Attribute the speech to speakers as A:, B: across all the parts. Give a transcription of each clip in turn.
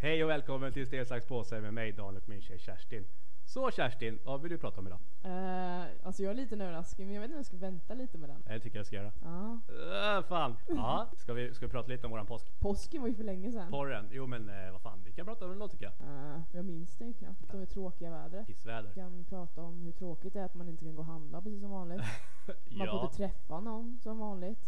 A: Hej och välkommen till Sten, sax, påse med mig Daniel och min tjej Kerstin. Så Kerstin, vad vill du prata om idag?
B: Eh, alltså jag är lite en överraskning men jag vet inte om jag ska vänta lite med den.
A: Eh, Det tycker jag ska göra.
B: Ja.
A: Äh, fan! Ja, ska vi, ska vi prata lite om våran påsk?
B: Påsken var ju för länge sedan.
A: Porren? Jo men eh, vad fan, vi kan prata om den då tycker jag.
B: Eh, jag minns det ju knappt. Om det tråkiga vädret.
A: Pissväder.
B: Vi kan prata om hur tråkigt det är att man inte kan gå och handla precis som vanligt. Man får
A: Ja.
B: inte träffa någon som vanligt.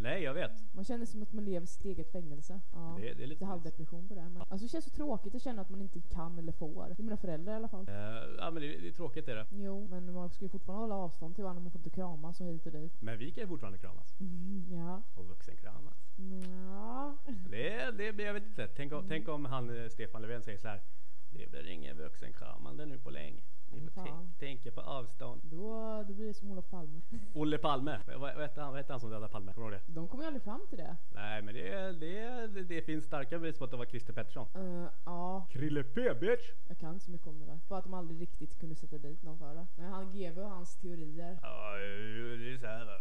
A: Nej, jag vet.
B: Man känner som att man lever sitt eget fängelse. Ja.
A: Det, det är lite...
B: Lite halvdepression på det. här, Men alltså det känns så tråkigt att känna att man inte kan eller får. Det är mina föräldrar i alla fall.
A: Eh, ja men det, det är tråkigt är det.
B: Jo, men man ska ju fortfarande hålla avstånd till varandra. Man får inte kramas och hit och dit.
A: Men vi kan ju fortfarande kramas.
B: Mm, ja.
A: Och vuxenkramas.
B: Nja.
A: Det, det blir, jag vet inte. Tänk om, tänk om han eh, Stefan Löfven säger så här. Det blir ingen vuxenkramande nu på länge. Ni får
B: Fan.
A: tän- tänka på avstånd.
B: Då, då blir det som Olof Palme.
A: Olle Palme. Vad, vad, hette han, vad hette han som dödade Palme? Kommer du ihåg det?
B: De kommer ju aldrig fram till det.
A: Nej men det, det, det, det finns starka bevis på att det var Christer Pettersson.
B: Eh, ja,
A: Krille P bitch!
B: jag kan inte så mycket om det där. Bara att de aldrig riktigt kunde sätta dit någon för det. Men han GV och hans teorier.
A: Ja, det är så här va.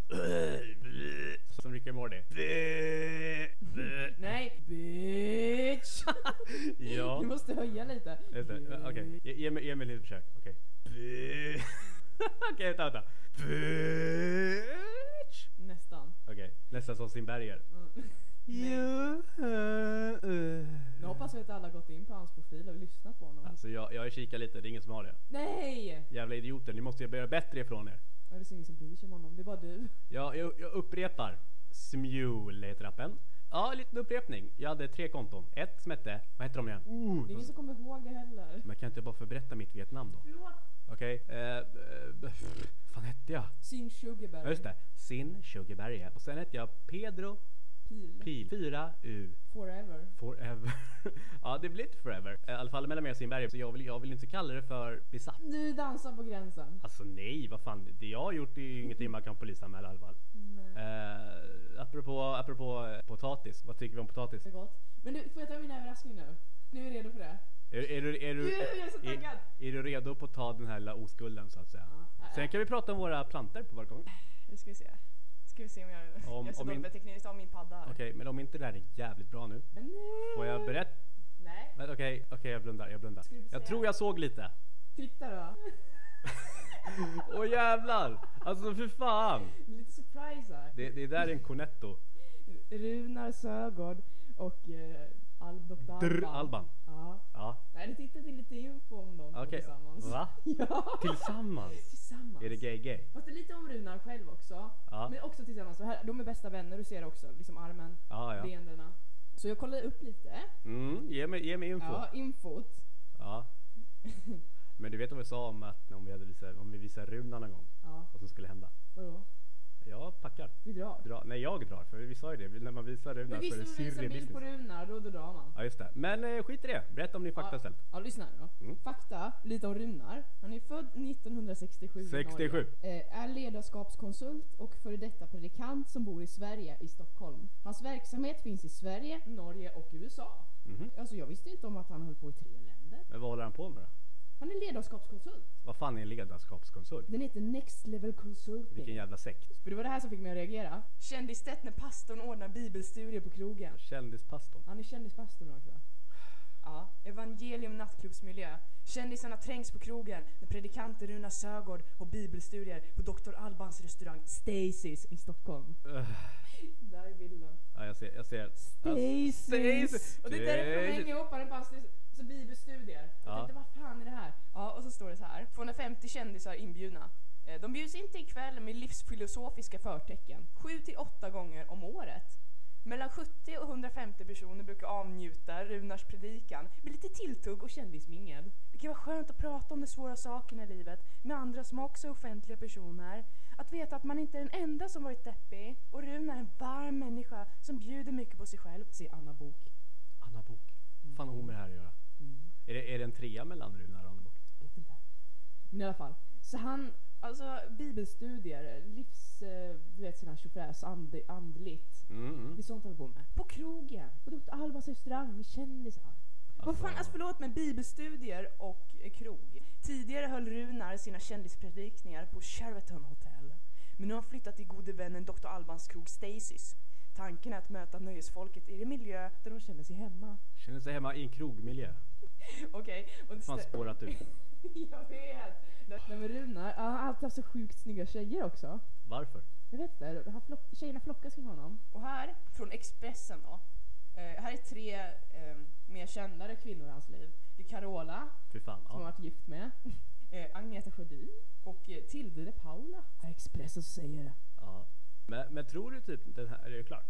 A: Som Rick and Morty.
B: Nej! Bitch!
A: Ja.
B: Du måste höja lite.
A: Just det. Ja, Okej, ge, ge mig, ge mig lite försök. Okej. Okej, vänta, vänta. Bitch!
B: Nästan.
A: Okej, nästan som Simberger.
B: Mm.
A: Ja, eh, eh.
B: Nu hoppas vi att alla gått in på hans profil och lyssnat på honom.
A: Alltså jag, jag har kikat lite, det är ingen som har det.
B: Nej!
A: Jävla idioter, ni måste ju börja bättre ifrån er.
B: Ja, Det är så ingen som bryr sig om honom. Det är bara du.
A: Ja, jag, jag upprepar. Smule heter appen. Ja, en liten upprepning. Jag hade tre konton. Ett som hette, vad heter de igen?
B: Det är ingen som kommer ihåg det heller.
A: Men kan jag inte bara få berätta mitt Vietnam då?
B: Förlåt.
A: Okej, eh, eh, vad fan hette jag?
B: Sin Sugarberry.
A: Ja just det, Sin Sugarberge. Och sen hette jag Pedro
B: Pil.
A: Pil 4U
B: Forever.
A: Forever. ja det blir inte forever. Eh, I alla fall mellan mig och Sinberg. Så jag vill, jag vill inte kalla det för besatt.
B: Du dansar på gränsen.
A: Alltså nej, vad fan. Det jag har gjort är ju ingenting man kan polisanmäla i alla fall.
B: Nej.
A: Eh, apropå, apropå eh, potatis. Vad tycker vi om potatis?
B: Det är gott. Men du, får jag ta min överraskning nu? Nu är jag redo för det.
A: Är, är, du, är, du,
B: Jo, jag är så taggad.
A: är, är du redo på att ta den här lilla oskulden så att säga?
B: Ja.
A: Sen kan vi prata om våra plantor på balkongen.
C: Nu ska vi se. Ska vi se om jag...
A: Om-
C: jag är så
A: om
C: dålig
A: min-
C: på teknik. Jag tar min padda här.
A: Okej, men om inte det här är jävligt bra nu.
B: Men nej.
A: Får jag berätta?
B: Nej.
A: Men Okej, okej jag blundar, jag blundar.
B: Skulle du
A: Jag
B: säga?
A: tror jag såg lite.
B: Titta då.
A: Åh jävlar! Alltså för fan!
B: Lite surprise här.
A: Det, det där är en cornetto.
B: Runar Sögaard och eh, Al- Dr.
A: Drr,
B: Alban.
A: Alban.
B: Ja.
A: Ja,
B: Nej, det tittade lite info om dem två
A: okej.
B: tillsammans.
A: Va?
B: Ja.
A: Tillsammans?
B: Tillsammans.
A: Är det gay gay?
B: Fast det är lite om Runar själv också.
A: Ja.
B: Men också tillsammans. För här, de är bästa vänner, du ser det också. Liksom armen,
A: Ja, ja.
B: benen. Så jag kollade upp lite.
A: Mm, ge mig, ge mig info.
B: Ja, infot.
A: Ja. Men du vet vad vi sa om att om vi, hade visat, om vi visar Runar någon gång,
B: Ja,
A: vad som skulle hända?
B: vadå?
A: Jag packar.
B: Vi drar.
A: Dra. Nej, jag drar. För vi sa ju det, när man visar Runar
B: Men
A: så
B: visst
A: är
B: om
A: det
B: du visar
A: cirri
B: en bild på
A: business.
B: Runar, då, då drar man.
A: Ja, just det. Men eh, skit i det. Berätta om din fakta
B: Ja.
A: istället.
B: Ja, lyssna nu då.
A: Mm.
B: Fakta, lite om Runar. Han är född 1967 i
A: 67.
B: Norge. Eh, Är ledarskapskonsult och före detta predikant som bor i Sverige, i Stockholm. Hans verksamhet finns i Sverige, Norge och USA.
A: Mhm.
B: Alltså jag visste inte om att han höll på i tre länder.
A: Men vad håller han på med då?
B: Han är ledarskapskonsult.
A: Vad fan är en ledarskapskonsult?
B: Den heter Next Level
A: Vilken
B: Consulting.
A: jävla sekt.
B: För det var det här som fick mig att reagera.
C: Kändistätt när pastorn ordnar bibelstudier på krogen.
A: Kändispastorn.
B: Han är kändispastor också.
C: Ja. Evangelium nattklubbsmiljö. Kändisarna trängs på krogen när predikanten Runar Sögaard och bibelstudier på Dr. Albans restaurang Stasis.
B: I Stockholm.
A: Öh,
B: Där är bilden.
A: Ja, jag ser. Jag ser. Stasis.
B: Stasis! Och det är därför de hänger ihop han på hans så bibelstudier. Jag
A: Ja.
B: tänkte, vad fan är det här?
C: Ja, och så står det så här. 250 kändisar inbjudna. Eh, De bjuds inte ikväll med livsfilosofiska förtecken. 7 till 8 gånger om året. Mellan 70 och 150 personer brukar avnjuta Runars predikan med lite tilltugg och kändismingel. Det kan vara skönt att prata om de svåra sakerna i livet med andra som också är offentliga personer. Att veta att man inte är den enda som varit deppig och Runar är en varm människa som bjuder mycket på sig själv, säger Anna Bok.
A: Anna Bok. Vad fan har hon med det här att göra? Är, det, är det en trea mellan Runar och Anna Bok?
B: Vet inte. Men i alla fall. Så han, alltså bibelstudier, livs, eh, du vet sån här tjofräs, and, andligt.
A: Mm, mm.
B: Det är sånt han håller på med. På krogen, på Dr. Albans restaurang med kändisar.
C: Vad fan, alltså förlåt men bibelstudier och eh, krog. Tidigare höll Runar sina kändispredikningar på Sheraton Hotel. Men nu har han flyttat till gode vännen Dr. Albans krog Stasis.
B: Tanken är att möta nöjesfolket i en miljö där de känner sig hemma.
A: Känner sig hemma i en krogmiljö.
B: Okej. och det
A: Fan
B: stä-
A: spårat ur.
B: Jag vet!
D: Nej men Runar, han har alltid haft så sjukt snygga tjejer också.
A: Varför?
D: Jag vet inte, han flock, tjejerna flockas kring honom.
B: Och här, från Expressen då. Eh, här är tre eh, mer kändare kvinnor i hans liv. Det är Carola,
A: Fy fan.
D: Som han
A: Ja.
D: varit gift med.
B: eh, Agneta Sjödin
D: Och eh, Tilde de Paula. Är Expressen som säger det.
A: ja. Men, men tror du typ den här är klar?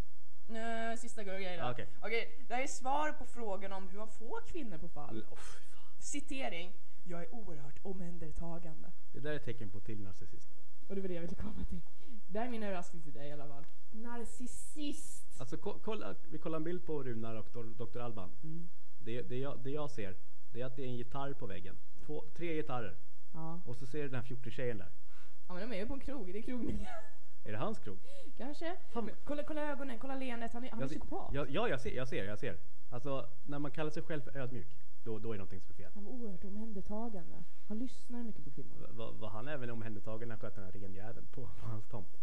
B: Eh, sista grejen.
D: Ah,
A: Ja, okej.
B: Okej, det här är svar på frågan om hur man får kvinnor på fall.
A: Åh, fy fan.
B: Citering. Jag är oerhört omhändertagande.
A: Det där är ett tecken på till narcissist.
D: Och det var det jag ville komma till. Det här är min överraskning till dig i alla fall. Narcissist!
A: Alltså ko- kolla, vi kollar en bild på Runar och Dr. Dr. Alban.
D: Mm.
A: Det, det, jag, det jag ser, det är att det är en gitarr på väggen. Två, tre gitarrer.
D: Ja.
A: Och så ser du den här 14-tjejen där.
D: ja men de är ju på en krog, det är krogmiljö.
A: Är det hans krog?
D: Kanske.
A: Fan,
D: Men kolla, kolla ögonen, kolla leendet. Han är, han är
A: Jag ser-
D: psykopat.
A: Ja, ja jag, ser, jag ser, jag ser. Alltså, när man kallar sig själv för ödmjuk, då, då är någonting som är fel.
D: Han var oerhört omhändertagande. Han lyssnar mycket på kvinnor.
A: Va- va- Var han även omhändertagen när han sköt den här renjäveln på, på hans tomt?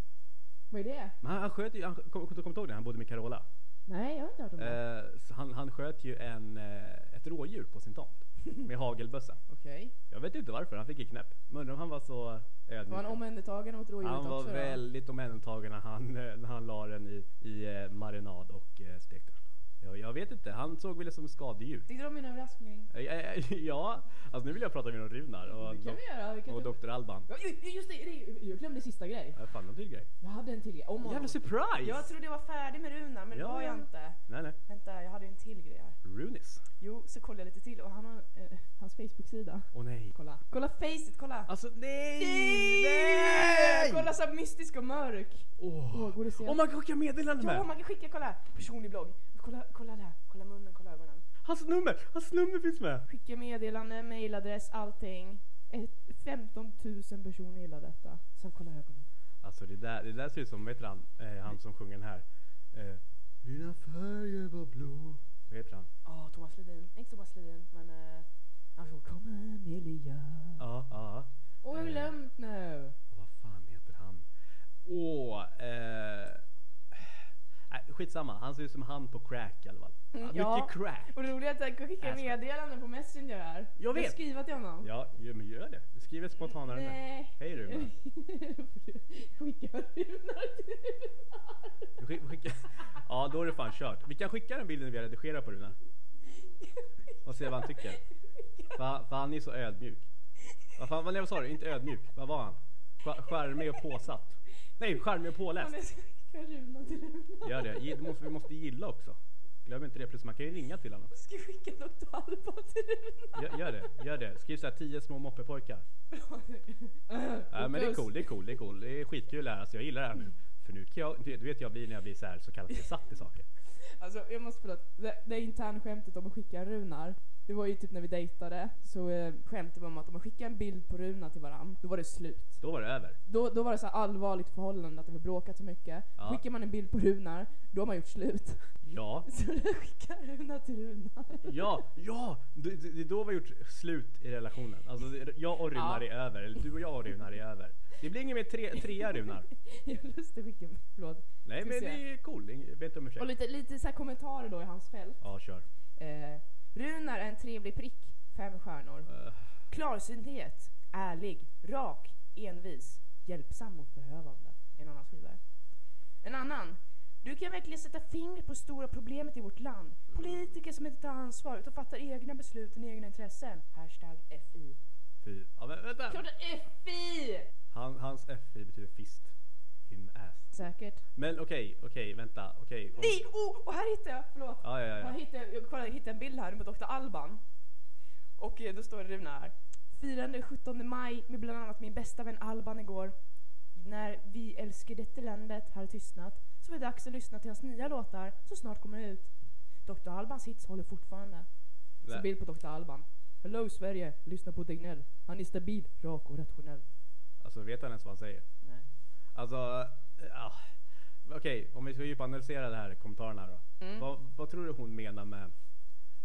D: Vad är det?
A: Men han, han sköt ju, han, kom, kom, kom, kom ihåg det, han bodde med Carola.
D: Nej, jag har inte hört om det.
A: Eh, så han, han sköt ju en, eh, ett rådjur på sin tomt med hagelbössa.
B: Okej.
A: Jag vet inte varför, han fick ju knäpp. Men undrar om han var så ödmjuk.
D: Var han omhändertagande mot rådjuret
A: Han
D: också
A: var
D: då?
A: väldigt omhändertagen när han, eh, när han la den i, i eh, marinad och eh, stekte den. Jag, jag vet inte, han såg väl det som skadedjur.
D: Tyckte du om min överraskning?
A: Eh, eh, Ja, alltså nu vill jag prata med någon Runar och,
D: Det kan vi göra. Vi kan
A: och
D: ta-
A: Dr. Alban.
D: Ja, ju- just det, det, jag glömde sista grej.
A: Ja, fan, någon till grej.
D: Jag hade en till grej. Om honom.
A: Jävla surprise!
B: Jag trodde jag var färdig med Runar, men det
A: Ja,
B: var jag
A: ja.
B: inte.
A: Nej, nej.
B: Vänta, jag hade ju en till grej här.
A: Runis.
B: Jo, så kollade jag lite till och han har... Eh,
D: Hans Facebook-sida.
A: Åh nej.
D: Kolla.
B: kolla facet, kolla!
A: Alltså nej!
B: Nej! Kolla så här mystisk och mörk.
A: Åh,
D: Åh, går det att se?
A: oh. man kan skicka meddelanden
B: Ja,
A: med!
B: man kan skicka, kolla! Personlig blogg. Kolla, kolla där, kolla munnen, kolla ögonen.
A: Hans nummer! Hans nummer finns med!
B: Skicka meddelande, mailadress, allting. Ett, 15 000 personer gillar detta. Så kolla ögonen.
A: Alltså det där, det där ser ut som, vet du han, eh, han som sjunger den här? Eh, Dina färger var blå. Vad heter han?
B: Ja, Thomas Ledin. Inte Thomas Ledin, men... Eh, han sjunger Kom Amelia.
A: Ja, ja.
D: Åh, jag har
A: Eh.
D: glömt nu.
A: Ja, Vad fan heter han? Åh, eh... Äh, skitsamma, han ser ut som han på crack i alla fall.
B: Mm,
A: Mycket
B: ja.
A: crack.
B: Och det roliga är att Äh, jag kan skicka
A: Ask.
B: meddelande på Messenger här.
A: Jag vet.
B: Jag skriver till honom.
A: Ja, ju- men gör det. Du skriver ett spontanare nu.
B: Nej.
A: Hej Runar.
D: Skicka Runar till Runar.
A: Du skick- skicka- Ja, då är det fan kört. Vi kan skicka den bilden vi har redigerat på Runar. Och se vad han tycker. För, han- för han är så ödmjuk. Vad fan, vad nej, vad sa du? Inte ödmjuk. Vad var han? Sk- Charmig och påsatt. Nej, charmig och
B: Ja,
A: påläst.
B: men jag ska skicka Runar till Runar.
A: Gör det. Ge- du måste- Vi måste gilla också. Glöm inte det. Plus man kan ju ringa till honom.
B: Jag ska skicka Dr. Alban till Runar.
A: Gör, gör det, gör det. Skriv såhär 10 små moppepojkar. Ja, men det är cool, det är cool, det är cool. Det är skitkul det här, alltså jag gillar det här nu. För nu kan jag, du vet- du vet jag blir när jag blir så här så kallat besatt i saker.
D: Alltså jag måste förlåt, det, det internskämtet om att skicka Runar. Det var ju typ när vi dejtade så eh, skämtade vi om att om man skickar en bild på Runar till varandra, då var det slut.
A: Då var det över.
D: Då, då var det så här allvarligt förhållande att det var bråkat så mycket.
A: Ja.
D: Skickar man en bild på Runar, då har man gjort slut.
A: Ja,
D: Så du skickar Runar till Runar.
A: ja, ja! Det det- det är då vi har gjort slut i relationen. Alltså det- jag och Runar
D: Ja.
A: är över, eller du och jag och Runar är över. Det blir ingen mer tre, trea Runar.
D: Jag har lust att skicka, förlåt.
A: Nej
D: Ska
A: men
D: vi se.
A: det är cool, Ing- jag ber inte om
D: Och
A: ursäkt.
D: lite, lite så här kommentarer då i hans fält.
A: Ja, kör.
D: Eh,
B: Runar är en trevlig prick. Fem stjärnor.
A: Eh,
B: Klarsynthet. Ärlig. Rak. Envis. Hjälpsam mot behövande. En annan skriver. En annan. Du kan verkligen sätta fingret på stora problemet i vårt land. Politiker som inte tar ansvar utan fattar egna beslut och egna intressen. Hashtag FI.
A: Fy. Ja, men, vänta.
B: Klart det är FI!
A: Han, hans FI betyder fist in ass.
D: säkert.
A: Men okej, okej, vänta, okej. om-
B: Nej! Oh, och här hittade jag, förlåt.
A: Ja, ja,
B: Jag
A: ja.
B: hittade, jag kollade, hittade en bild här på Dr. Alban. Och eh, då står det Runa här. Firande 17 maj med bland annat min bästa vän Alban igår. När vi älskar detta landet har tystnat så är det dags att lyssna till hans nya låtar som snart kommer ut. Dr. Albans hits håller fortfarande.
D: Så
A: Nej.
D: bild på Dr. Alban. Hello Sverige, lyssna på Tegnell. Han är stabil, rak och rationell.
A: Alltså vet han ens vad han säger?
B: Nej.
A: Alltså, ja. Okej, om vi ska djupanalysera det här kommentaren här
B: Mm.
A: då.
D: Mm.
A: Vad, vad tror du hon menar med,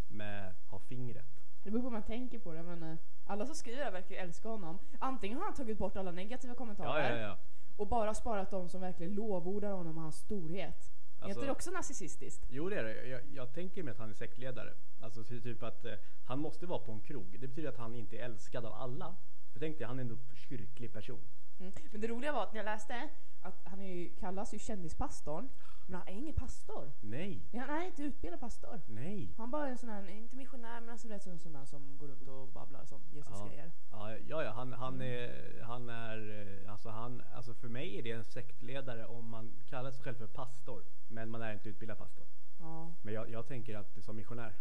A: med ha fingret?
D: Det beror på hur man tänker på det men eh, alla som skriver det verkar ju älska honom. Antingen har han tagit bort alla negativa kommentarer
A: Ja, Alltså, ja, ja.
D: och bara sparat de som verkligen lovordar honom och hans storhet.
B: Är
A: Alltså-
B: inte det också narcissistiskt?
A: Jo det är det. Jag, jag tänker mig att han är sektledare. Alltså ty- typ att eh, han måste vara på en krog. Det betyder att han inte är älskad av alla. För tänk dig, han är ändå en kyrklig person.
B: Mm. Men det roliga var att när jag läste att han är ju, kallas ju kändispastorn, men han är ingen pastor.
A: Nej,
B: Nej, Han är inte utbildad pastor.
A: nej.
B: Han bara är en sån här, inte missionär men alltså du vet sån, sån där som går runt och babblar som Jesus
A: Ja.
B: grejer.
A: Ja, ja, ja han, han är, han är, eh, alltså han, alltså för mig är det en sektledare om man kallar sig själv för pastor. Men man är inte utbildad pastor.
B: Ja,
A: Men jag, jag tänker att det är som missionär.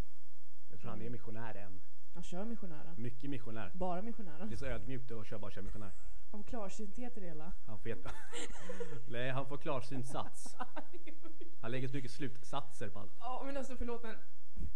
A: Jag tror han är missionär än.
B: han kör missionären.
A: Mycket missionär.
B: Bara missionären.
A: Det är så ödmjukt att köra bara köra missionär.
B: Av klarsynthet i det hela.
A: Han får jätte... Nej, han får klarsynt sats. Han lägger så mycket slutsatser på allt.
B: Ja men alltså förlåt men,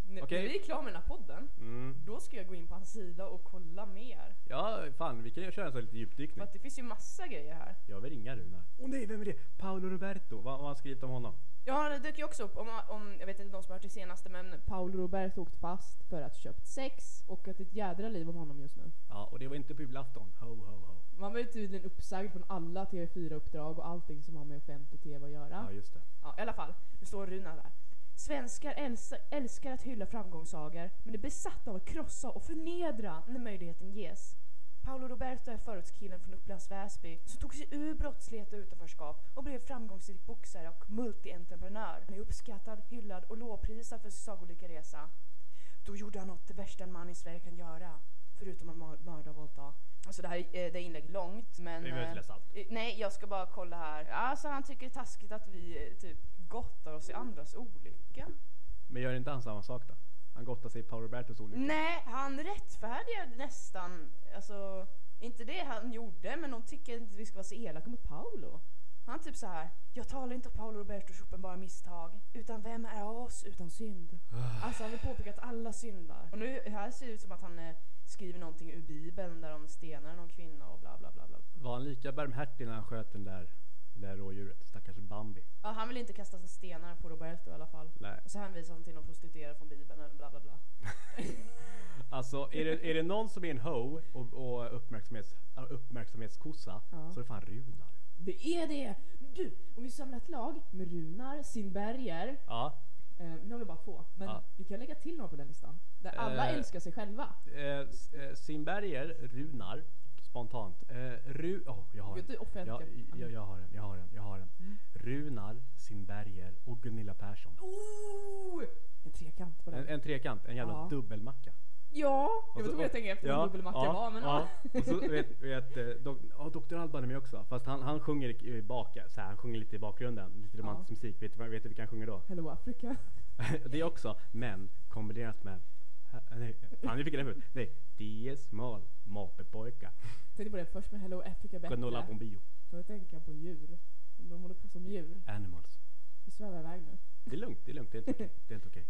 B: när
A: Okej.
B: när vi är klara med den här podden,
A: Mm.
B: då ska jag gå in på hans sida och kolla mer.
A: Ja, fan vi kan ju köra en sån här liten
B: För
A: djupdykning.
B: att det finns ju massa grejer här.
A: Jag vill ringa Runar. Åh nej, vem är det? Paolo Roberto. Vad vad har han skrivit om honom?
B: Ja, det dök ju också upp, om, om, jag vet inte de som har hört det senaste men
E: Paolo Roberto åkt fast för att köpt sex och att det är ett jädra liv om honom just nu.
A: Ja, och det var inte på julafton. Ho, ho, ho.
E: Man var ju tydligen uppsagd från alla TV4-uppdrag och allting som har med offentlig TV att göra.
A: Ja, just det.
B: Ja, i alla fall. Nu står Runa där. Svenskar älsa- älskar att hylla framgångssagor men är besatta av att krossa och förnedra när möjligheten ges. Paolo Roberto är förortskillen från Upplands Väsby som tog sig ur brottslighet och utanförskap och blev framgångsrik boxare och multientreprenör. Han är uppskattad, hyllad och lovprisad för sin sagolika resa. Då gjorde han något det värsta en man i Sverige kan göra, förutom att mör- mörda och våldta. Alltså det här eh, det är inlägg långt men...
A: Vi behöver
B: eh,
A: inte läsa allt.
B: Eh, Nej, jag ska bara kolla här. Alltså han tycker det är taskigt att vi eh, typ gottar oss i andras olycka.
A: Men gör inte han samma sak då? Han gottar sig i Paolo Robertos olycka.
E: Mm.
B: Nej, han rättfärdigade nästan, alltså inte det han gjorde men de tycker inte vi ska vara så elaka mot Paolo. Han typ så här. Jag talar inte om Paolo Robertos uppenbara misstag, utan vem är av oss utan synd? Alltså han vill påpeka att alla syndar. Och nu, här ser det ut som att han eh, skriver någonting ur bibeln där de stenar någon kvinna och bla bla bla bla.
A: Var han lika barmhärtig när han sköt den där, det där rådjuret? Stackars Bambi.
B: Ja, han vill inte kasta stenar på Roberto i alla fall.
A: Nej.
B: Och så hänvisar han till någon prostituerad från Bibeln och bla bla bla.
A: Alltså är det, är det någon som är en ho och, och uppmärksamhets, uppmärksamhetskossa
E: Ja.
A: så är det fan Runar.
E: Det är det! Du, om vi samlar ett lag med Runar, Sinberger,
A: Ja,
E: eh, nu har vi bara två, men
A: Ja.
E: vi kan lägga till några på den listan. Där alla
A: Eh.
E: älskar sig själva.
A: Eh, s- eh, Simberger, Runar, spontant. Eh, Ru... Åh, jag har
E: Gud, du
A: en.
E: är offentlig.
A: Jag, jag, jag har en, jag har en, jag har en.
E: Mm.
A: Runar, Simberger och Gunilla Persson.
E: Oh! En trekant på den.
A: En, en trekant, en jävla
E: Ja.
A: dubbelmacka.
E: Ja,
A: Och
E: jag vet
A: så-
E: inte vad jag
A: och-
E: tänker efter ja, dubbelmacka var men ja.
A: Och så vet, vet eh, dok, ja, Dr. Alban är med också. Fast han, han sjunger i- i bak, eh, så här, han sjunger lite i bakgrunden. Lite romantisk musik. Vet du vad- vet du vilka han sjunger då?
E: Hello Africa.
A: det också, men kombinerat med... eh, Nej, fan jag fick det ut. Nej, Dies mal, mapepojka,
E: Tänkte på det först med Hello Africa bättre.
A: Gunola Bombio,
E: Då tänker jag på djur. Om De håller på som djur.
A: Animals.
E: Vi svävar iväg nu.
A: Det är lugnt, det är lugnt, det är inte okej. Det är inte okej.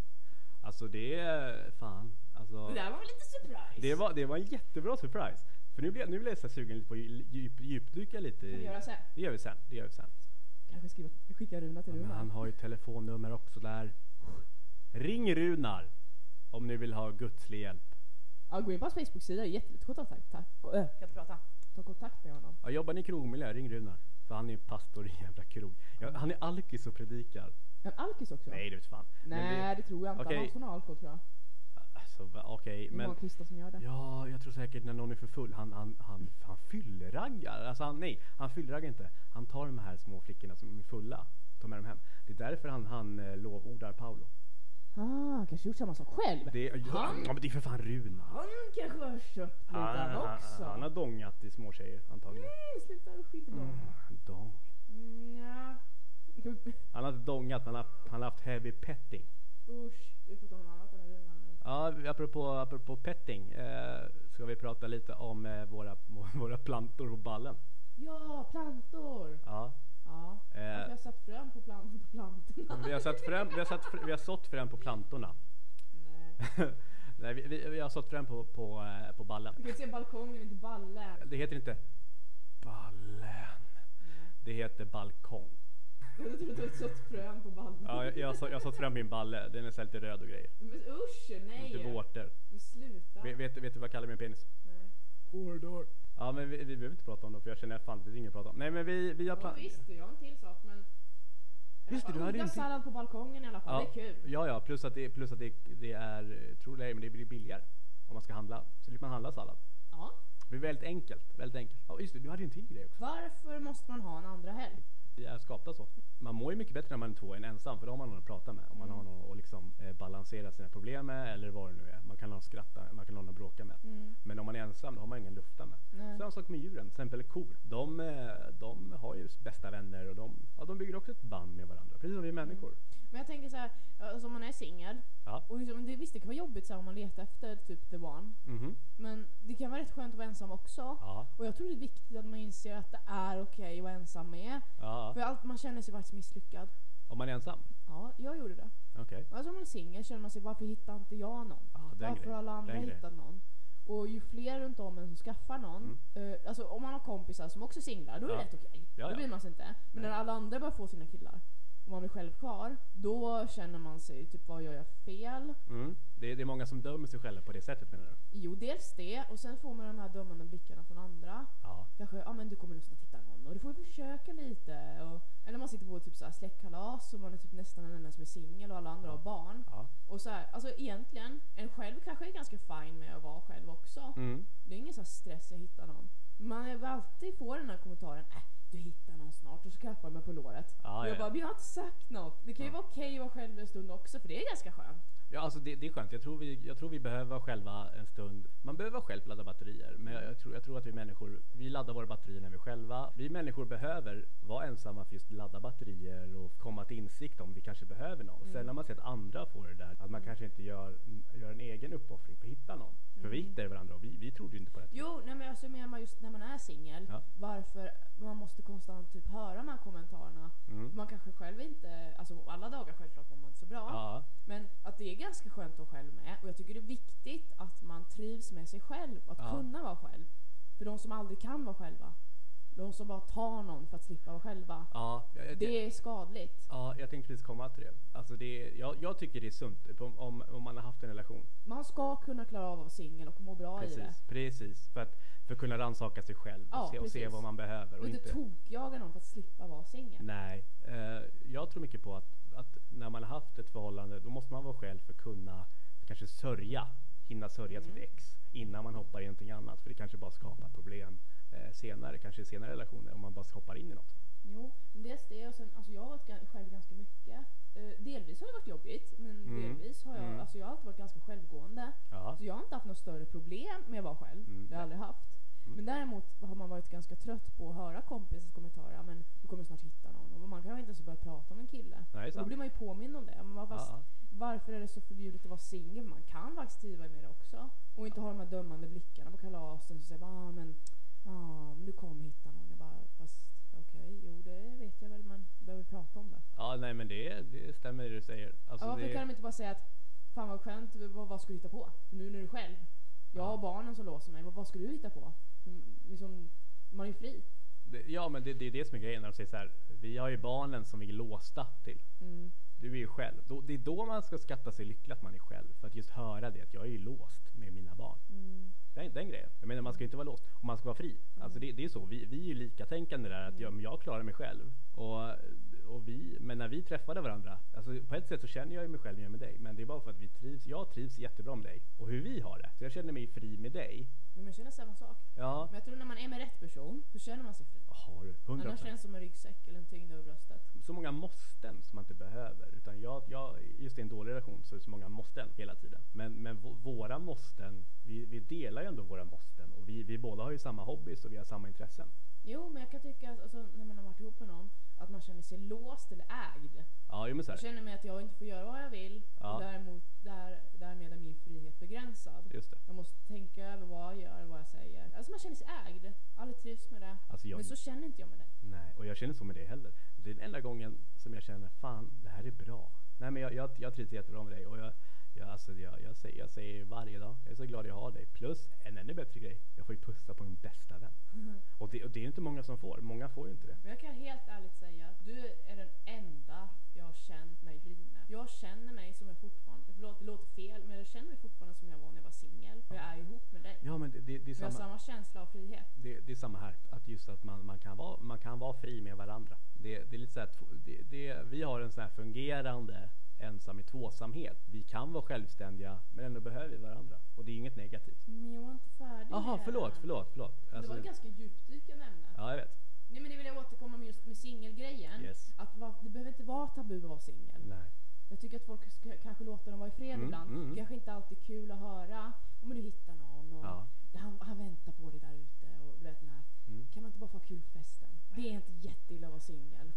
A: Alltså det är fan. Alltså,
E: Det där var väl lite surprise?
A: det, var, det var en jättebra surprise. För nu blir, jag- nu blir jag så här sugen lite på att djup, djupdyka lite.
E: Kan vi
A: i-
E: göra så här?
A: Det gör vi sen. Det gör vi sen.
E: Kanske skriva, skicka Runa till
A: Men
E: Runar.
A: han har ju telefonnummer också där. Ring Runar om ni vill ha gudslig hjälp.
E: Ja, gå in på hans Facebook-sida, jättelätt att ta kontakt, ta, äh,
B: Kan inte prata.
E: ta kontakt med honom.
A: Ja, jobbar ni i krogmiljö, ring Runar. För han är ju pastor i en jävla krog. Ja, han är alkis och predikar.
E: En alkis också?
A: Nej, det vet fan. Men
E: Nej,
A: det-
E: det, tror jag inte.
A: Okej.
E: Han har sån alkohol tror jag.
A: Alltså, va- okej.
E: Det är
A: men...
E: många kristna som gör det.
A: Ja, jag tror säkert när någon är för full. Han, han, han, han fyllraggar. Alltså han, nej, han fyllraggar inte. Han tar de här små flickorna som är fulla och tar med dem hem. Det är därför han, han eh, lovordar Paolo.
E: Ah, kanske gjort samma sak själv.
A: Det, är- ja,
E: Han?
A: men det är för fan Runa.
E: Han kanske har köpt lite
A: Han,
E: han
A: han,
E: också.
A: han har dongat i små tjejer antagligen.
E: Nej, sluta skit i dem.
A: Dong.
E: Mm, nja.
A: Han har inte dongat, men han har, han har haft heavy petting.
E: Usch, vi får ta någon annan på den här rundan nu.
A: Ja, apropå, apropå petting eh, ska vi prata lite om eh, våra, våra plantor på ballen.
E: Ja, plantor!
A: Ja.
E: Ja,
A: Eh,
E: jag har satt frön på, plan- på plantorna.
A: vi, har satt frön, vi, har satt, fr- vi har sått frön på plantorna.
E: Nej.
A: Nej, vi, vi, vi har sått frön på, på, eh, på ballen.
E: Du kan inte se balkongen, inte ballen.
A: Det heter inte ballen. Det heter balkong.
E: Jag trodde du hade sått frön på ballen.
A: Ja, jag, jag, har så- jag har sått frön min balle. Den är så här lite röd och grejer.
E: Men usch, nej!
A: Lite vårtor.
E: Men sluta.
A: Vet, vet, vet du vad jag kallar min penis?
E: nej.
A: Hårdar. Ja, men vi, vi behöver inte prata om det för jag känner fan det finns inget att prata om. Nej, men vi, vi har
E: Ja,
A: plan...
E: visst, jag har en till sak men...
A: Just det, du hade ju
B: Odla
A: en till.
B: sallad på balkongen i alla fall,
A: Ja.
B: det är kul.
A: Ja, ja, plus att det, plus att det, det är, eh, tror det eller ej, men det blir billigare om man ska handla. Så slipper man handla sallad.
B: Ja.
A: Det blir väldigt enkelt, väldigt enkelt. Ja, just det, du hade ju en till grej också.
B: Varför måste man ha en andra helg?
A: Vi är skapta så. Man mår ju mycket bättre när man är två än ensam, för då har man någon att prata med. Om man
B: Mm.
A: har någon att liksom, eh, balansera sina problem med eller vad det nu är. Man kan ha någon att skratta med, man kan ha någon att bråka med.
C: Mm.
A: Men om man är ensam, då har man ingen att lufta med.
C: Nej.
A: Samma sak med djuren, till exempel kor. De, eh, de har ju bästa vänner och de, ja, de bygger också ett band med varandra, precis som vi människor.
B: Men jag tänker så här, alltså om man är singel,
A: Ja.
B: och liksom, det, visst det kan vara jobbigt så här, om man letar efter typ the one,
A: Mhm.
B: men det kan vara rätt skönt att vara ensam också.
A: Ja.
B: Och jag tror det är viktigt att man inser att det är okej att vara ensam med.
A: Ja.
B: För allt, man känner sig faktiskt misslyckad.
A: Om man är ensam?
B: Ja, jag gjorde det.
A: Okej.
B: Och Alltså om man är singel känner man sig, varför hittar inte jag någon?
A: Ja, det är en
B: Varför
A: grej.
B: har alla
A: Det
B: andra
A: är en grej.
B: hittat någon? Och ju fler runt om en som skaffar någon, eh, alltså om man har kompisar som också är singlar, då är det
A: Mm. Ja.
B: rätt okej.
A: Ja, ja.
B: Då bryr man sig inte. Men
A: Nej.
B: när alla andra börjar få sina killar och man blir själv kvar, då känner man sig typ vad gör jag fel?
A: Mm. Det, är, det är många som dömer sig själva på det sättet menar du?
B: Jo, dels det och sen får man de här dömande blickarna från andra.
A: Ja.
B: Kanske, ja ah, men du kommer nog snart hitta någon och du får ju försöka lite. Och, eller man sitter på typ så här släktkalas och man är typ nästan den enda som är singel och alla andra har barn.
A: ja.
B: Och så här, alltså egentligen, en själv kanske är ganska fin med att vara själv också.
A: Mm.
B: Det är ingen så här stress att hitta någon. Man är- alltid får den här kommentaren äh, du hittar någon snart och så klappar de mig på låret.
A: Ja,
B: och
A: ja,
B: jag
A: ja.
B: bara, men jag har inte sagt något. Det kan ju
A: Ja.
B: vara okej att vara själv en stund också för det är ganska skönt.
A: Ja, alltså det, det är skönt. Jag tror, vi, jag tror vi behöver vara själva en stund. Man behöver vara själv ladda batterier. Men jag, jag, tror, jag tror att vi människor, vi laddar våra batterier när vi är själva. Vi människor behöver vara ensamma för just ladda batterier och komma till insikt om vi kanske behöver någon.
B: Mm.
A: Sen när man ser att andra får det där, att man kanske inte gör, gör en egen uppoffring för att hitta någon. För vi hittade varandra och vi, vi trodde ju inte på det.
B: Mm. Jo, nej, men alltså, jag menar just när man är singel,
A: Ja.
B: varför man måste konstant typ höra de här kommentarerna.
A: Mm.
B: Man kanske själv inte, alltså alla dagar självklart mår man inte så bra.
A: Ja,
B: Men att det är ganska skönt att vara själv med och jag tycker det är viktigt att man trivs med sig själv och att
A: Ja.
B: kunna vara själv. För de som aldrig kan vara själva, de som bara tar någon för att slippa vara själva,
A: ja, jag- jag-
B: det är skadligt.
A: Ja, jag tänkte precis komma till det. Alltså det är, jag, jag tycker det är sunt om, om, om man har haft en relation.
B: Man ska kunna klara av att vara singel och må bra i det.
A: Precis, precis. För att, för att kunna rannsaka sig själv
B: Ja,
A: och, se, och se
B: precis.
A: vad man behöver.
B: Och
A: Och
B: inte
A: inte,
B: tokjaga någon för att slippa vara singel.
A: nej, eh, jag tror mycket på att, att när man har haft ett förhållande då måste man vara själv för att kunna kanske sörja, hinna sörja
B: Mm.
A: sitt ex innan man hoppar i någonting annat. För det kanske bara skapar problem eh, senare, kanske i senare relationer om man bara hoppar in i något.
B: Jo, men dels det och sen, alltså jag har varit gan- själv ganska mycket. Eh, delvis har det varit jobbigt, men
A: Mm.
B: delvis har jag,
A: Mm.
B: alltså jag har alltid varit ganska självgående.
A: Ja,
B: Så Alltså, jag har inte haft något större problem med att vara själv.
A: Mm.
B: Det har jag aldrig haft.
A: Mm.
B: Men däremot har man varit ganska trött på att höra kompisars kommentarer. "Ja, Men du kommer snart hitta någon. Och man kan inte ens börja prata om en kille.
A: nej, det är
B: Och då
A: sant.
B: blir man ju påmind om det. Men varför,
A: Ja,
B: varför är det så förbjudet att vara singel? Man kan faktiskt triva med det också. Och inte ha de här dömande blickarna på kalasen som säger bara, ah, men, ah, men du kommer hitta någon. Jag bara fast okej, jo det vet jag väl men behöver vi prata om det.
A: ja nej men det, det stämmer det du säger. Alltså
B: Ja, varför
A: det,
B: kan de inte bara säga att fan vad skönt, vad, vad ska du hitta på? Nu när du är själv. Jag har barnen som låser mig, vad, vad ska du hitta på? Mm, Liksom, man är ju fri.
A: Det, ja, men det, det är det som är grejen när de säger så här. Vi har ju barnen som vi är låsta till. Du är ju själv. Då, det är då man ska skatta sig lycklig att man är själv. För att just höra det att jag är ju låst med mina barn.
B: Mm.
A: Den, den grejen. Jag menar man ska ju inte vara låst och man ska vara fri. Alltså det, det är så. Vi, vi är ju likatänkande där att ja, men jag klarar mig själv. Och, och vi, men när vi träffade varandra. Alltså på ett sätt så känner jag ju mig själv när jag är med dig. Men det är bara för att vi trivs. Jag trivs jättebra med dig och hur vi har det. Så jag känner mig fri med dig.
B: Men jag känner samma sak.
A: Ja,
B: Men jag tror när man är med rätt person så känner man sig fri.
A: har du. Hundra
B: Annars
A: procent.
B: känns det som en ryggsäck eller en tyngd över bröstet.
A: så många måsten som man inte behöver. Utan jag, jag, just i en dålig relation så är det så många måsten hela tiden. Men, men vå- våra måsten, vi, vi delar ju ändå våra måsten och vi, vi båda har ju samma hobbys och vi har samma intressen.
B: Jo, men jag kan tycka att alltså, när man har varit ihop med någon att man känner sig låst eller ägd.
A: Ja, jo men så
B: Jag
A: här.
B: känner mig att jag inte får göra vad jag vill
A: Ja.
B: och däremot, där, därmed är min frihet begränsad.
A: Just det.
B: Jag måste tänka över vad jag gör och vad jag säger. Alltså man känner sig ägd. Aldrig trivs med det.
A: Alltså jag,
B: Men så känner inte jag med det.
A: nej, och jag känner så med det heller. Det är den enda gången som jag känner, fan det här är bra. Nej men jag, jag, jag trivs jättebra med dig och jag, jag, alltså, jag, jag, säger, jag säger varje dag, jag är så glad jag har dig. Plus en ännu bättre grej, jag får ju pussa på min bästa vän.
B: Mm-hmm.
A: Och det, och det är ju inte många som får, många får ju inte det.
B: Men jag kan helt ärligt säga, du är den enda jag har känt mig fri med. Jag känner mig som jag fortfarande, förlåt det låter fel, men jag känner mig fortfarande som jag var när jag var singel. Och jag är ihop med dig.
A: Ja, men det, det, det, är
B: Vi har
A: samma,
B: samma känsla av frihet.
A: det, det är samma här. Att just att man, man, kan, vara, man kan vara fri med varandra. Det, det är lite så här, tv- det, det, vi har en sån här fungerande ensam i tvåsamhet. Vi kan vara självständiga men ändå behöver vi varandra. Och det är inget negativt.
B: Men jag var inte färdig
A: Jaha,
B: med det
A: förlåt,
B: här.
A: förlåt, förlåt.
B: Det
A: Alltså,
B: var ett ganska djupdykande ämne.
A: ja, jag vet.
B: Nej men det vill jag återkomma med just med singelgrejen.
A: Yes.
B: Att va, det behöver inte vara tabu att vara singel.
A: Nej.
B: Jag tycker att folk ska, kanske låter dem vara i fred
A: Mm,
B: ibland.
A: mm, mm.
B: Kanske inte alltid kul att höra. Om du hittar någon och
A: Ja.
B: han, han väntar på dig där ute och du vet den här.
A: Mm.
B: Kan man inte bara få ha kul på festen? Det är inte jätteilla att vara singel.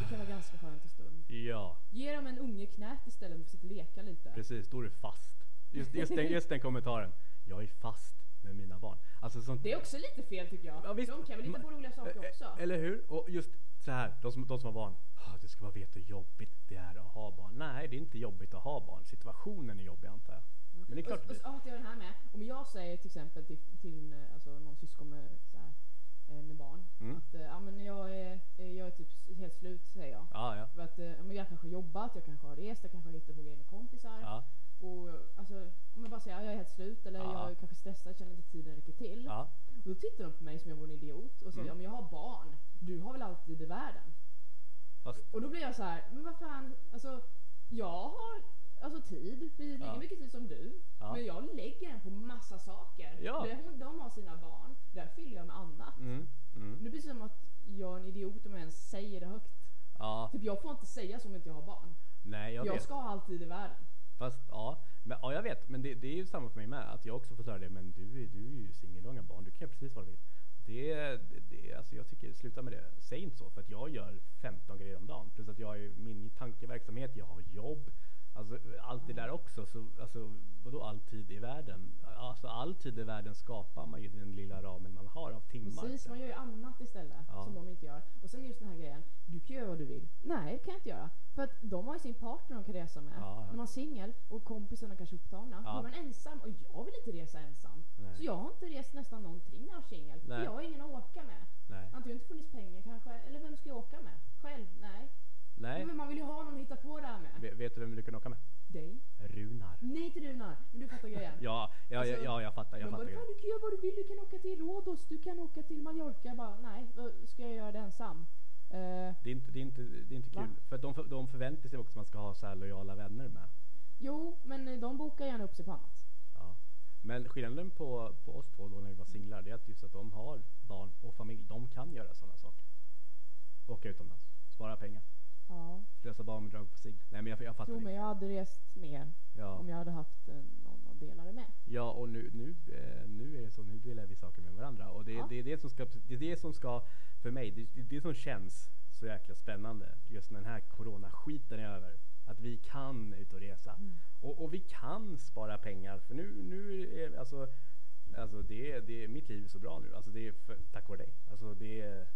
B: Det kan vara ganska skönt en stund.
A: Ja,
B: Ge dem en unge knät istället för att sitta och leka lite.
A: precis. Då är du fast. Just, just, den, just den kommentaren. Jag är fast med mina barn. Alltså sånt,
B: Det är också lite fel tycker jag.
A: Ja, visst.
B: De kan väl hitta på roliga saker
A: Eh,
B: också?
A: Eller hur? Och just så här, de som, de som har barn. Ah, du ska bara veta hur jobbigt det är att ha barn. Nej, det är inte jobbigt att ha barn. Situationen är jobbig antar jag. Men det är klart
B: Mm. och,
A: det blir.
B: och, så hatar jag den här med. Om jag säger till exempel till, till eh, alltså, någon syskon med, så här, eh, med barn
A: Mm.
B: att eh, ja, men jag, är, eh, jag är typ s- helt slut säger jag.
A: Ja, ja.
B: För att eh, ja, men jag kanske har jobbat, jag kanske har rest, jag kanske har hittat på grejer med kompisar.
A: Ja,
B: Och alltså, om jag bara säger ja, jag är helt slut eller
A: Ja.
B: jag är kanske stressad, känner inte tiden räcker till.
A: ja.
B: Och då tittar de på mig som jag vore en idiot och
A: Mm.
B: säger ja men jag har barn. Du har väl alltid i världen?
A: Fast,
B: Och då blir jag så här, men vad fan, alltså jag har alltså tid, precis lika
A: Ja.
B: mycket tid som du.
A: Ja.
B: Men jag lägger den på massa saker.
A: Ja.
B: Där hon, de har sina barn, där fyller jag med annat.
A: mm, mm.
B: Nu blir det som att jag är en idiot om jag ens säger det högt.
A: Ja,
B: Typ jag får inte säga så om inte jag har barn.
A: nej jag
B: Jag, jag
A: vet.
B: ska ha all tid i världen.
A: Fast ja, men, ja jag vet. Men det, det är ju samma för mig med. Att jag också får höra det. Men du, är- du är ju singel och har inga barn. Du kan göra precis vad du vill. Det, det, det, alltså jag tycker, sluta med det. Säg inte så. För att jag gör 15 grejer om dagen. Plus att jag har ju min tankeverksamhet, jag har jobb. Alltså allt det där också. Så, alltså, vadå all tid i världen? Alltså all tid i världen skapar man ju den lilla ramen man har av timmar.
B: Precis, man gör ju annat istället
A: Ja.
B: som de inte gör. Och sen just den här grejen, du kan göra vad du vill. Nej, det kan jag inte göra. För att de har ju sin partner de kan resa med.
A: Ja, ja.
B: De har singel och kompisarna kanske är upptagna.
A: Ja.
B: Då är man ensam och jag vill inte resa ensam.
A: Nej.
B: Så jag har inte rest nästan någonting när jag var singel. För
A: Nej.
B: jag har ingen att åka med.
A: Nej.
B: Antingen har inte funnits pengar kanske, eller vem ska jag åka med? Själv? Nej.
A: Nej.
B: Men man vill ju ha någon att hitta på det här med.
A: Ve- Vet du vem du kan åka med?
B: Dig?
A: Runar.
B: Nej till Runar, men du fattar grejen.
A: Ja, ja, ja, ja jag fattar. Jag
B: de bara,
A: fattar.
B: "Fan, du kan göra vad du vill, du kan åka till Rhodos, du kan åka till Mallorca. Jag bara, nej, vad ska jag göra det ensam? Eh,
A: Det är inte, det är inte, det är inte
B: Va?
A: kul. För att de, för- de förväntar sig också att man ska ha så här lojala vänner med.
B: jo, men de bokar gärna upp sig på annat.
A: Ja. Men skillnaden på, på oss två då när vi var singlar det är att just att de har barn och familj. De kan göra sådana saker. Åka utomlands, spara pengar,
B: Ja.
A: lösa barnbidrag på sig. Nej men jag, jag fattar
B: Jo,
A: inte.
B: men jag hade rest mer
A: Ja,
B: om jag hade haft eh, någon att dela det med.
A: ja och nu, nu, eh, nu är det så, nu delar vi saker med varandra. Och det,
B: Ja.
A: det är det som ska, det är det som ska, för mig, det, det är det som känns så jäkla spännande. Just när den här coronaskiten är över. Att vi kan ut och resa. Och, och vi kan spara pengar för nu, nu är alltså, alltså det, är- det, är- mitt liv är så bra nu. Alltså det är för, tack vare dig. Alltså det är,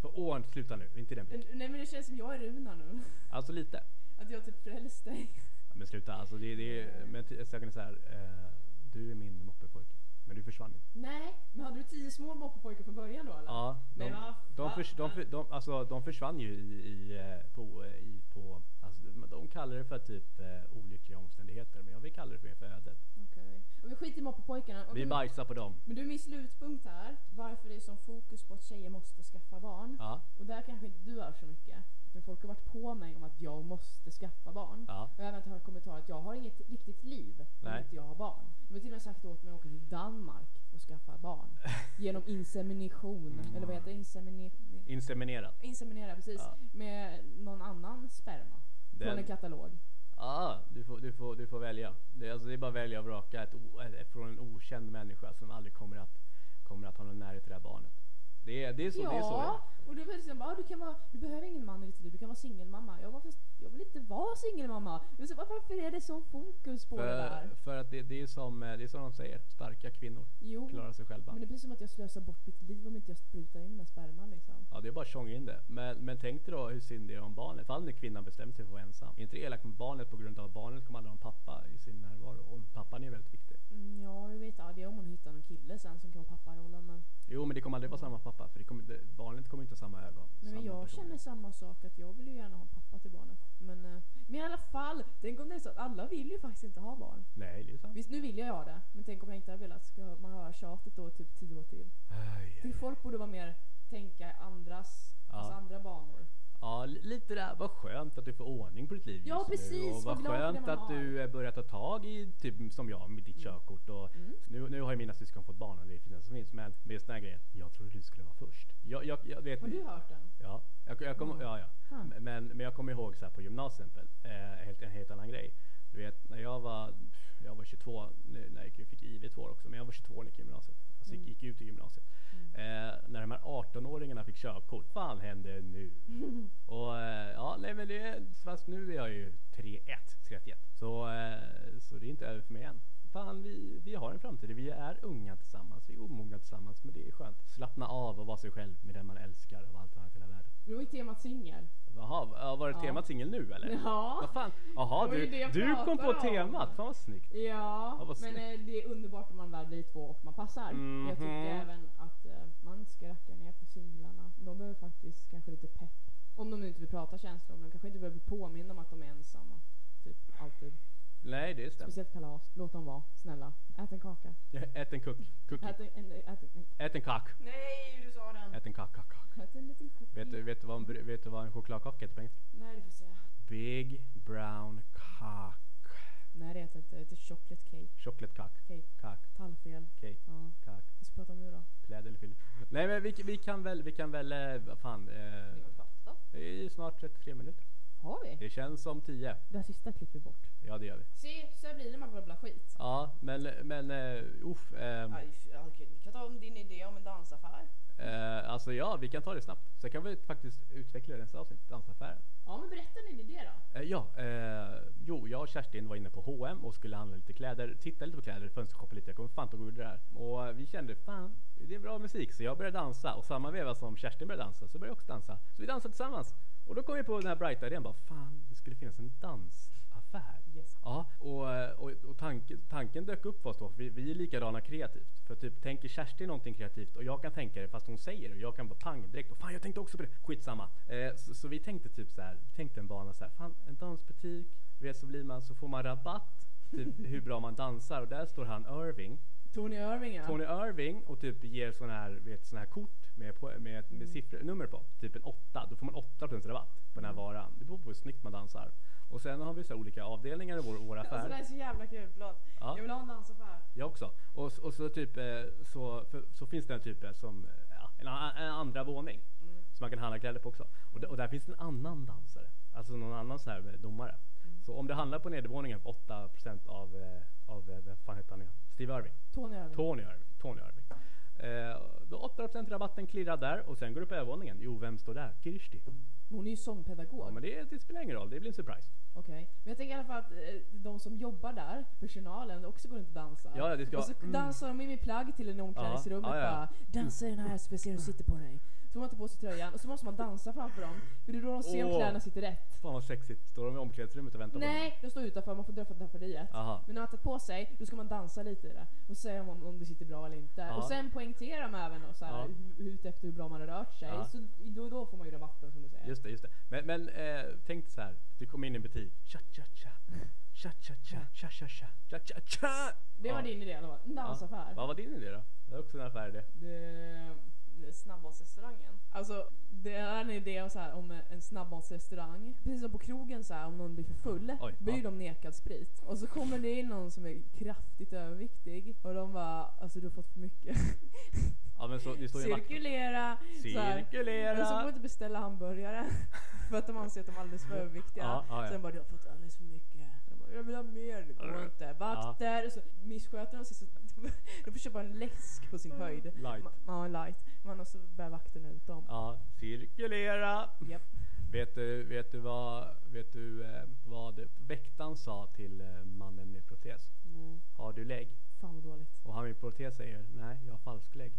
A: för åh, sluta nu, inte den blicken.
B: Nej, men det känns som jag är Runar nu.
A: Alltså lite.
B: Att jag typ frälst dig.
A: Ja, Men sluta, alltså det, det är, men t- saken är så här, eh, du är min moppepojke. Men du försvann ju.
B: Nej, men hade du tio små moppepojkar från början då eller?
A: Ja, de,
B: Men vad
A: de, förs, de, för- de, alltså, de försvann ju i, i, eh, på, eh, i, på alltså, de- de kallar det för typ eh, olyckliga omständigheter men jag vill kalla det för, för ödet.
B: Okej. Och vi skiter i moppepojkarna. Och
A: Vi
B: du-
A: bajsar på dem.
B: men du är min slutpunkt här. Varför det är sån fokus på att tjejer måste skaffa barn.
A: Ja,
B: Och där kanske inte du hör så mycket. Men folk har varit på mig om att jag måste skaffa barn.
A: ja,
B: Och jag har även hört kommentarer att jag har inget riktigt liv om
A: Nej.
B: inte jag har barn. De har till och med sagt åt mig att åka till Danmark och skaffa barn. Genom insemination.
A: Mm.
B: Eller vad heter det? Insemine-
A: inseminerat.
B: inseminera, precis.
A: Ja.
B: Med någon annan sperma. Från
A: Den-
B: en katalog.
A: Ja, du får, du får, du får välja. Det, är- alltså, det är bara att välja och vraka ett, o- ett, från en okänd människa som aldrig kommer att, kommer att ha någon närhet till det här barnet. Det är, det är så det är. Så. det är.
B: ja, och då är det som, ah, du, kan vara, du behöver ingen man i ditt liv, du kan vara singelmamma. Jag bara, fast jag vill inte vara singelmamma. Jag sa, Varför är det sån fokus på det där?
A: För, för att det, det, är som, eh, det är som de säger, starka kvinnor
B: Jo,
A: klarar sig själva.
B: men det blir som att jag slösar bort mitt liv om inte jag sprutar in den här sperman liksom.
A: Ja, det är bara att tjonga in det. Men, men tänk dig då hur synd det är om barnet. Ifall nu kvinnan bestämmer sig för att vara ensam. Är inte det elakt mot barnet på grund av att barnet kommer aldrig ha en pappa i sin närvaro? Och pappan är väldigt viktig.
B: Mm, ja, jag vet. Ja, det är om hon hittar någon kille sen som kan vara papparollen. Men
A: Jo, men det kommer aldrig vara samma samma pappa för det kommer, det, barnet kommer inte ha samma ögon.
B: Nej, men
A: samma
B: jag
A: personlighet.
B: känner samma sak, att jag vill ju gärna ha en pappa till barnet. Men, eh, men i alla fall, tänk om det är så att alla vill ju faktiskt inte ha barn.
A: Nej, det är sant.
B: Visst, nu vill jag ha det, men tänk om jag inte hade velat, ska man höra tjatet då typ tio år till?
A: Aj.
B: Till folk borde vara mer tänka i andras,
A: Ja.
B: alltså andra banor.
A: Ja, li- lite där. Vad skönt att du får ordning på ditt liv
B: Ja,
A: just nu.
B: precis.
A: Och
B: Vad
A: vad
B: glad för det
A: skönt
B: man Mm.
A: att du eh, börjar ta tag i, typ som jag, med ditt körkort. Och nu, nu har ju mina syskon fått barn och det är det finaste som finns. Men med just den här grejen. Jag trodde du skulle vara först. Jag, jag, jag vet
B: Har du hört den?
A: Ja, jag, jag kommer, ja, ja.
B: Hmm.
A: Men, men jag kommer ihåg så här på gymnasiet till exempel, eh, helt, en helt annan grej. Du vet, när jag var, jag var 22, nu- när jag gick, fick IV2 också, men jag var 22 när jag gick i gymnasiet. Alltså gick, gick ut i gymnasiet.
B: Mm.
A: Eh, när de här 18-åringarna fick körkort, fan hände nu? Och eh, ja, nej men det, fast nu är jag ju 3-1, 31. Så, eh, så det är inte över för mig än. Fan, vi, vi har en framtid. Vi är unga tillsammans, vi är omogna tillsammans, men det är skönt. Slappna av och vara sig själv med den man älskar och allt annat i hela världen.
B: Nu är temat singel.
A: Jaha, v- ja, var det
B: Ja.
A: temat singel nu eller?
B: Ja.
A: Vad fan? Jaha,
B: Det var ju
A: du,
B: det jag
A: du kom på
B: pratade om.
A: temat. Fan vad snyggt.
B: Ja,
A: Ja, vad
B: men eh, det är underbart om man väl blir två och man passar. Men Jag tycker
A: Mhm.
B: även att eh, man ska racka ner på singlarna. De behöver faktiskt kanske lite pepp. Om de nu inte vill prata känslor, men de kanske inte behöver bli påminna om att de är ensamma. Typ, alltid.
A: Nej, det stämmer.
B: Speciellt kalas. Låt dem vara, snälla. Ät en kaka.
A: Ät en kuck. kuck.
B: Ät en, en, ät en, nej.
A: Ät en kak.
C: Nej, du sa den.
A: Ät en kak, kak, kak.
B: Ät en liten cookie.
A: Vet, du- vet, du vad en, br- vet du vad en chokladkaka heter på engelska?
B: Nej, du får säga.
A: Big brown cock.
B: Nej, det heter inte. Det heter chocolate cake.
A: Chocolate cock.
B: Cake.
A: Cock.
B: Tallfel.
A: Cake.
B: Ja.
A: Cock.
B: Vad ska vi prata om nu då?
A: Pläd eller filt. Nej men vi, vi kan väl, vi kan väl, eh, vad fan. Eh,
C: Vi har pratat om.
A: det är ju snart 33 minuter.
B: Har vi?
A: Det känns som 10.
B: Det här sista klipper vi bort.
A: Ja det gör vi.
B: Se, så här blir det när man babblar skit.
A: Ja men, men eh, uff. ehm,
C: Aj, f- ja, okej, Vi kan ta om din idé om en dansaffär.
A: Eh, alltså ja, vi kan ta det snabbt. Sen kan vi faktiskt utveckla det i nästa avsnitt, dansaffären.
B: Ja, men berätta din idé då.
A: Eh, ja, eh, jo, jag och Kerstin var inne på H&M och skulle handla lite kläder, titta lite på kläder, fönstershoppa lite. Jag kommer fan inte ihåg hur det där. Och eh, vi kände fan, det är bra musik. Så jag började dansa och samma veva som Kerstin började dansa så började jag också dansa. Så vi dansade tillsammans. Och då kom vi på den här brighta idén bara, fan, det skulle finnas en dansaffär.
B: Yes.
A: Ja, och, eh, och, och tanken, tanken dök upp för oss då, för vi, vi är likadana kreativt. För typ tänker Kerstin någonting kreativt och jag kan tänka det fast hon säger det och jag kan bara pang direkt och fan jag tänkte också på det. Skitsamma. Eh, så, så vi tänkte typ så här, vi tänkte en bana så här, fan en dansbutik, du vet så blir man, så får man rabatt. Typ hur bra man dansar och där står han Irving
B: Tony Irving ja.
A: Tony Irving och typ ger sådana här, vet, såna här kort med, po- med, med
B: Mm.
A: siffror, nummer på. Typ en åtta. Då får man 8 rabatt på den
B: Mm.
A: här varan. Det beror på hur snyggt man dansar. Och sen har vi så här olika avdelningar i vår, vår affär.
B: Alltså det här är så jävla kul, förlåt.
A: Ja.
B: Jag vill ha en dansaffär.
A: Jag också. Och, s- och så, typ, eh, så, för, så finns det en typ eh, som eh, ja, en, a- en andra våning
B: Mm.
A: som man kan handla kläder på också. Och, d- och där finns det en annan dansare, alltså någon annan sån här eh, domare.
B: Mm.
A: Så om du handlar på nedervåningen på 8 av, eh, av eh, vem fan heter han igen? Steve Irving.
B: Tony Irving.
A: Tony Irving. Tony Irving. Eh, då 8 rabatten klirrar där och sen går du på övervåningen. Jo, vem står där? Kirsti.
B: Hon är ju sångpedagog.
A: Ja, men det, det spelar ingen roll, det blir en surprise.
B: Okej. Men jag tänker i alla fall att eh, de som jobbar där, personalen, också går runt och dansar.
A: Ja, ja, det ska
B: och så
A: vara- mm.
B: dansar de in i plagg till en i omklädningsrummet
A: Ja, ja, ja.
B: bara Dansa i den här så får jag se hur den sitter på dig. Så får man tar på sig tröjan och så måste man dansa framför dem. För det är då de ser om
A: Åh.
B: kläderna sitter rätt.
A: Fan vad sexigt. Står de i omklädningsrummet och väntar på
B: Nej, de står utanför, man får dra för draperiet.
A: dem? Aha.
B: Men när man tagit på sig, då ska man dansa lite i det. Och säga om, om det sitter bra eller inte.
A: Ja.
B: Och sen poängterar de även då, så här,
A: Ja.
B: hu- ut efter hur bra man har rört sig.
A: Ja.
B: Så då, då får man ju rabatten som du säger.
A: Just det, just det. Men, men eh, tänk så här. Du kommer in i en butik. Tja, tja, tja. Tja, tja, tja. Tja, tja, tja. Tja, tja, tja.
B: Det var
A: Ja.
B: din idé i alla fall. En dansaffär.
A: Vad var din idé då? Det är också en affär det.
B: Det,
C: Snabbmatsrestaurangen.
B: alltså, det är en idé om, så här, om en snabbmatsrestaurang. Precis som på krogen så här, om någon blir för full
A: Oj,
B: blir
A: ja.
B: de nekad sprit. Och så kommer det in någon som är kraftigt överviktig och de bara alltså du har fått för mycket.
A: Ja, men så, det står ju en vacker.
B: Cirkulera! så här. Men så får man
A: Cirkulera.
B: inte beställa hamburgare för att de anser att de är alldeles för överviktiga.
A: Ja, ja, ja.
B: Sen bara, du har fått alldeles för mycket. De bara, jag vill ha mer, det går inte. Vakter, och så missköter de sig så de får köpa en läsk på sin höjd.
A: Light.
B: Ma- Ja, light. Men annars så bär vakterna ut dem.
A: Mm. Ja, cirkulera.
B: Japp.
A: Vet du, vet du vad, vet du, eh, vad väktaren sa till eh, mannen med protes?
B: Nej,
A: Har du lägg?
B: Mm, fan vad dåligt.
A: Och han med protes säger nej, jag har falsk lägg.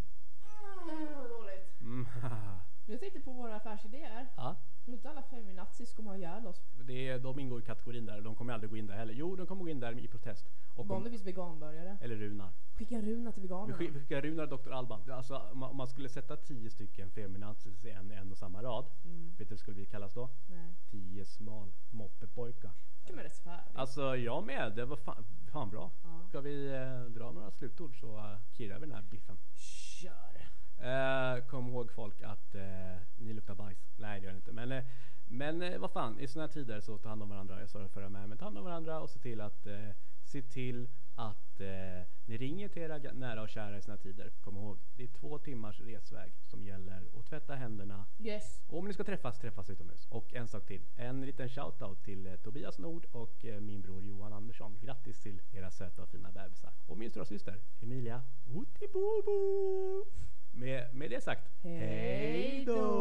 B: Mm, vad dåligt.
A: Mm. haha.
B: Jag tänkte på våra affärsidéer.
A: ja.
B: Tror du inte alla feminazis kommer ha ihjäl oss?
A: Det är, de ingår i kategorin där och de kommer aldrig gå in där heller. Jo, de kommer gå in där i protest. Och
B: Bara om
A: om,
B: det finns veganburgare.
A: eller runar.
B: skicka Runar till
A: Vi
B: veganerna.
A: skick- vi skickar Runar och Dr. Alban. Alltså, om man- om man skulle sätta tio stycken feminazis i en, en och samma rad,
B: Mm,
A: vet du vad det skulle bli kallas då?
B: nej.
A: Tio smal moppepojkar.
B: Det är rätt så här.
A: Alltså jag med, det var fan, fan bra.
B: Ja.
A: Ska vi eh, dra några slutord så eh, kirrar vi den här biffen.
B: Kör!
A: Eh, kom ihåg folk att eh, ni luktar bajs. Nej det gör ni inte. Men, eh, men eh, vad fan, i sådana här tider så ta hand om varandra. Jag sa det förra med, men ta hand om varandra och se till att, eh, se till att eh, ni ringer till era ga- nära och kära i sådana här tider. Kom ihåg, det är två timmars resväg som gäller. Och tvätta händerna.
B: Yes.
A: Och om ni ska träffas, träffas utomhus. Och en sak till, en liten shoutout till eh, Tobias Nord och eh, min bror Johan Andersson. Grattis till era söta och fina bebisar. Och min stora syster Emilia Utibobo! Med, med det sagt,
B: Hej då!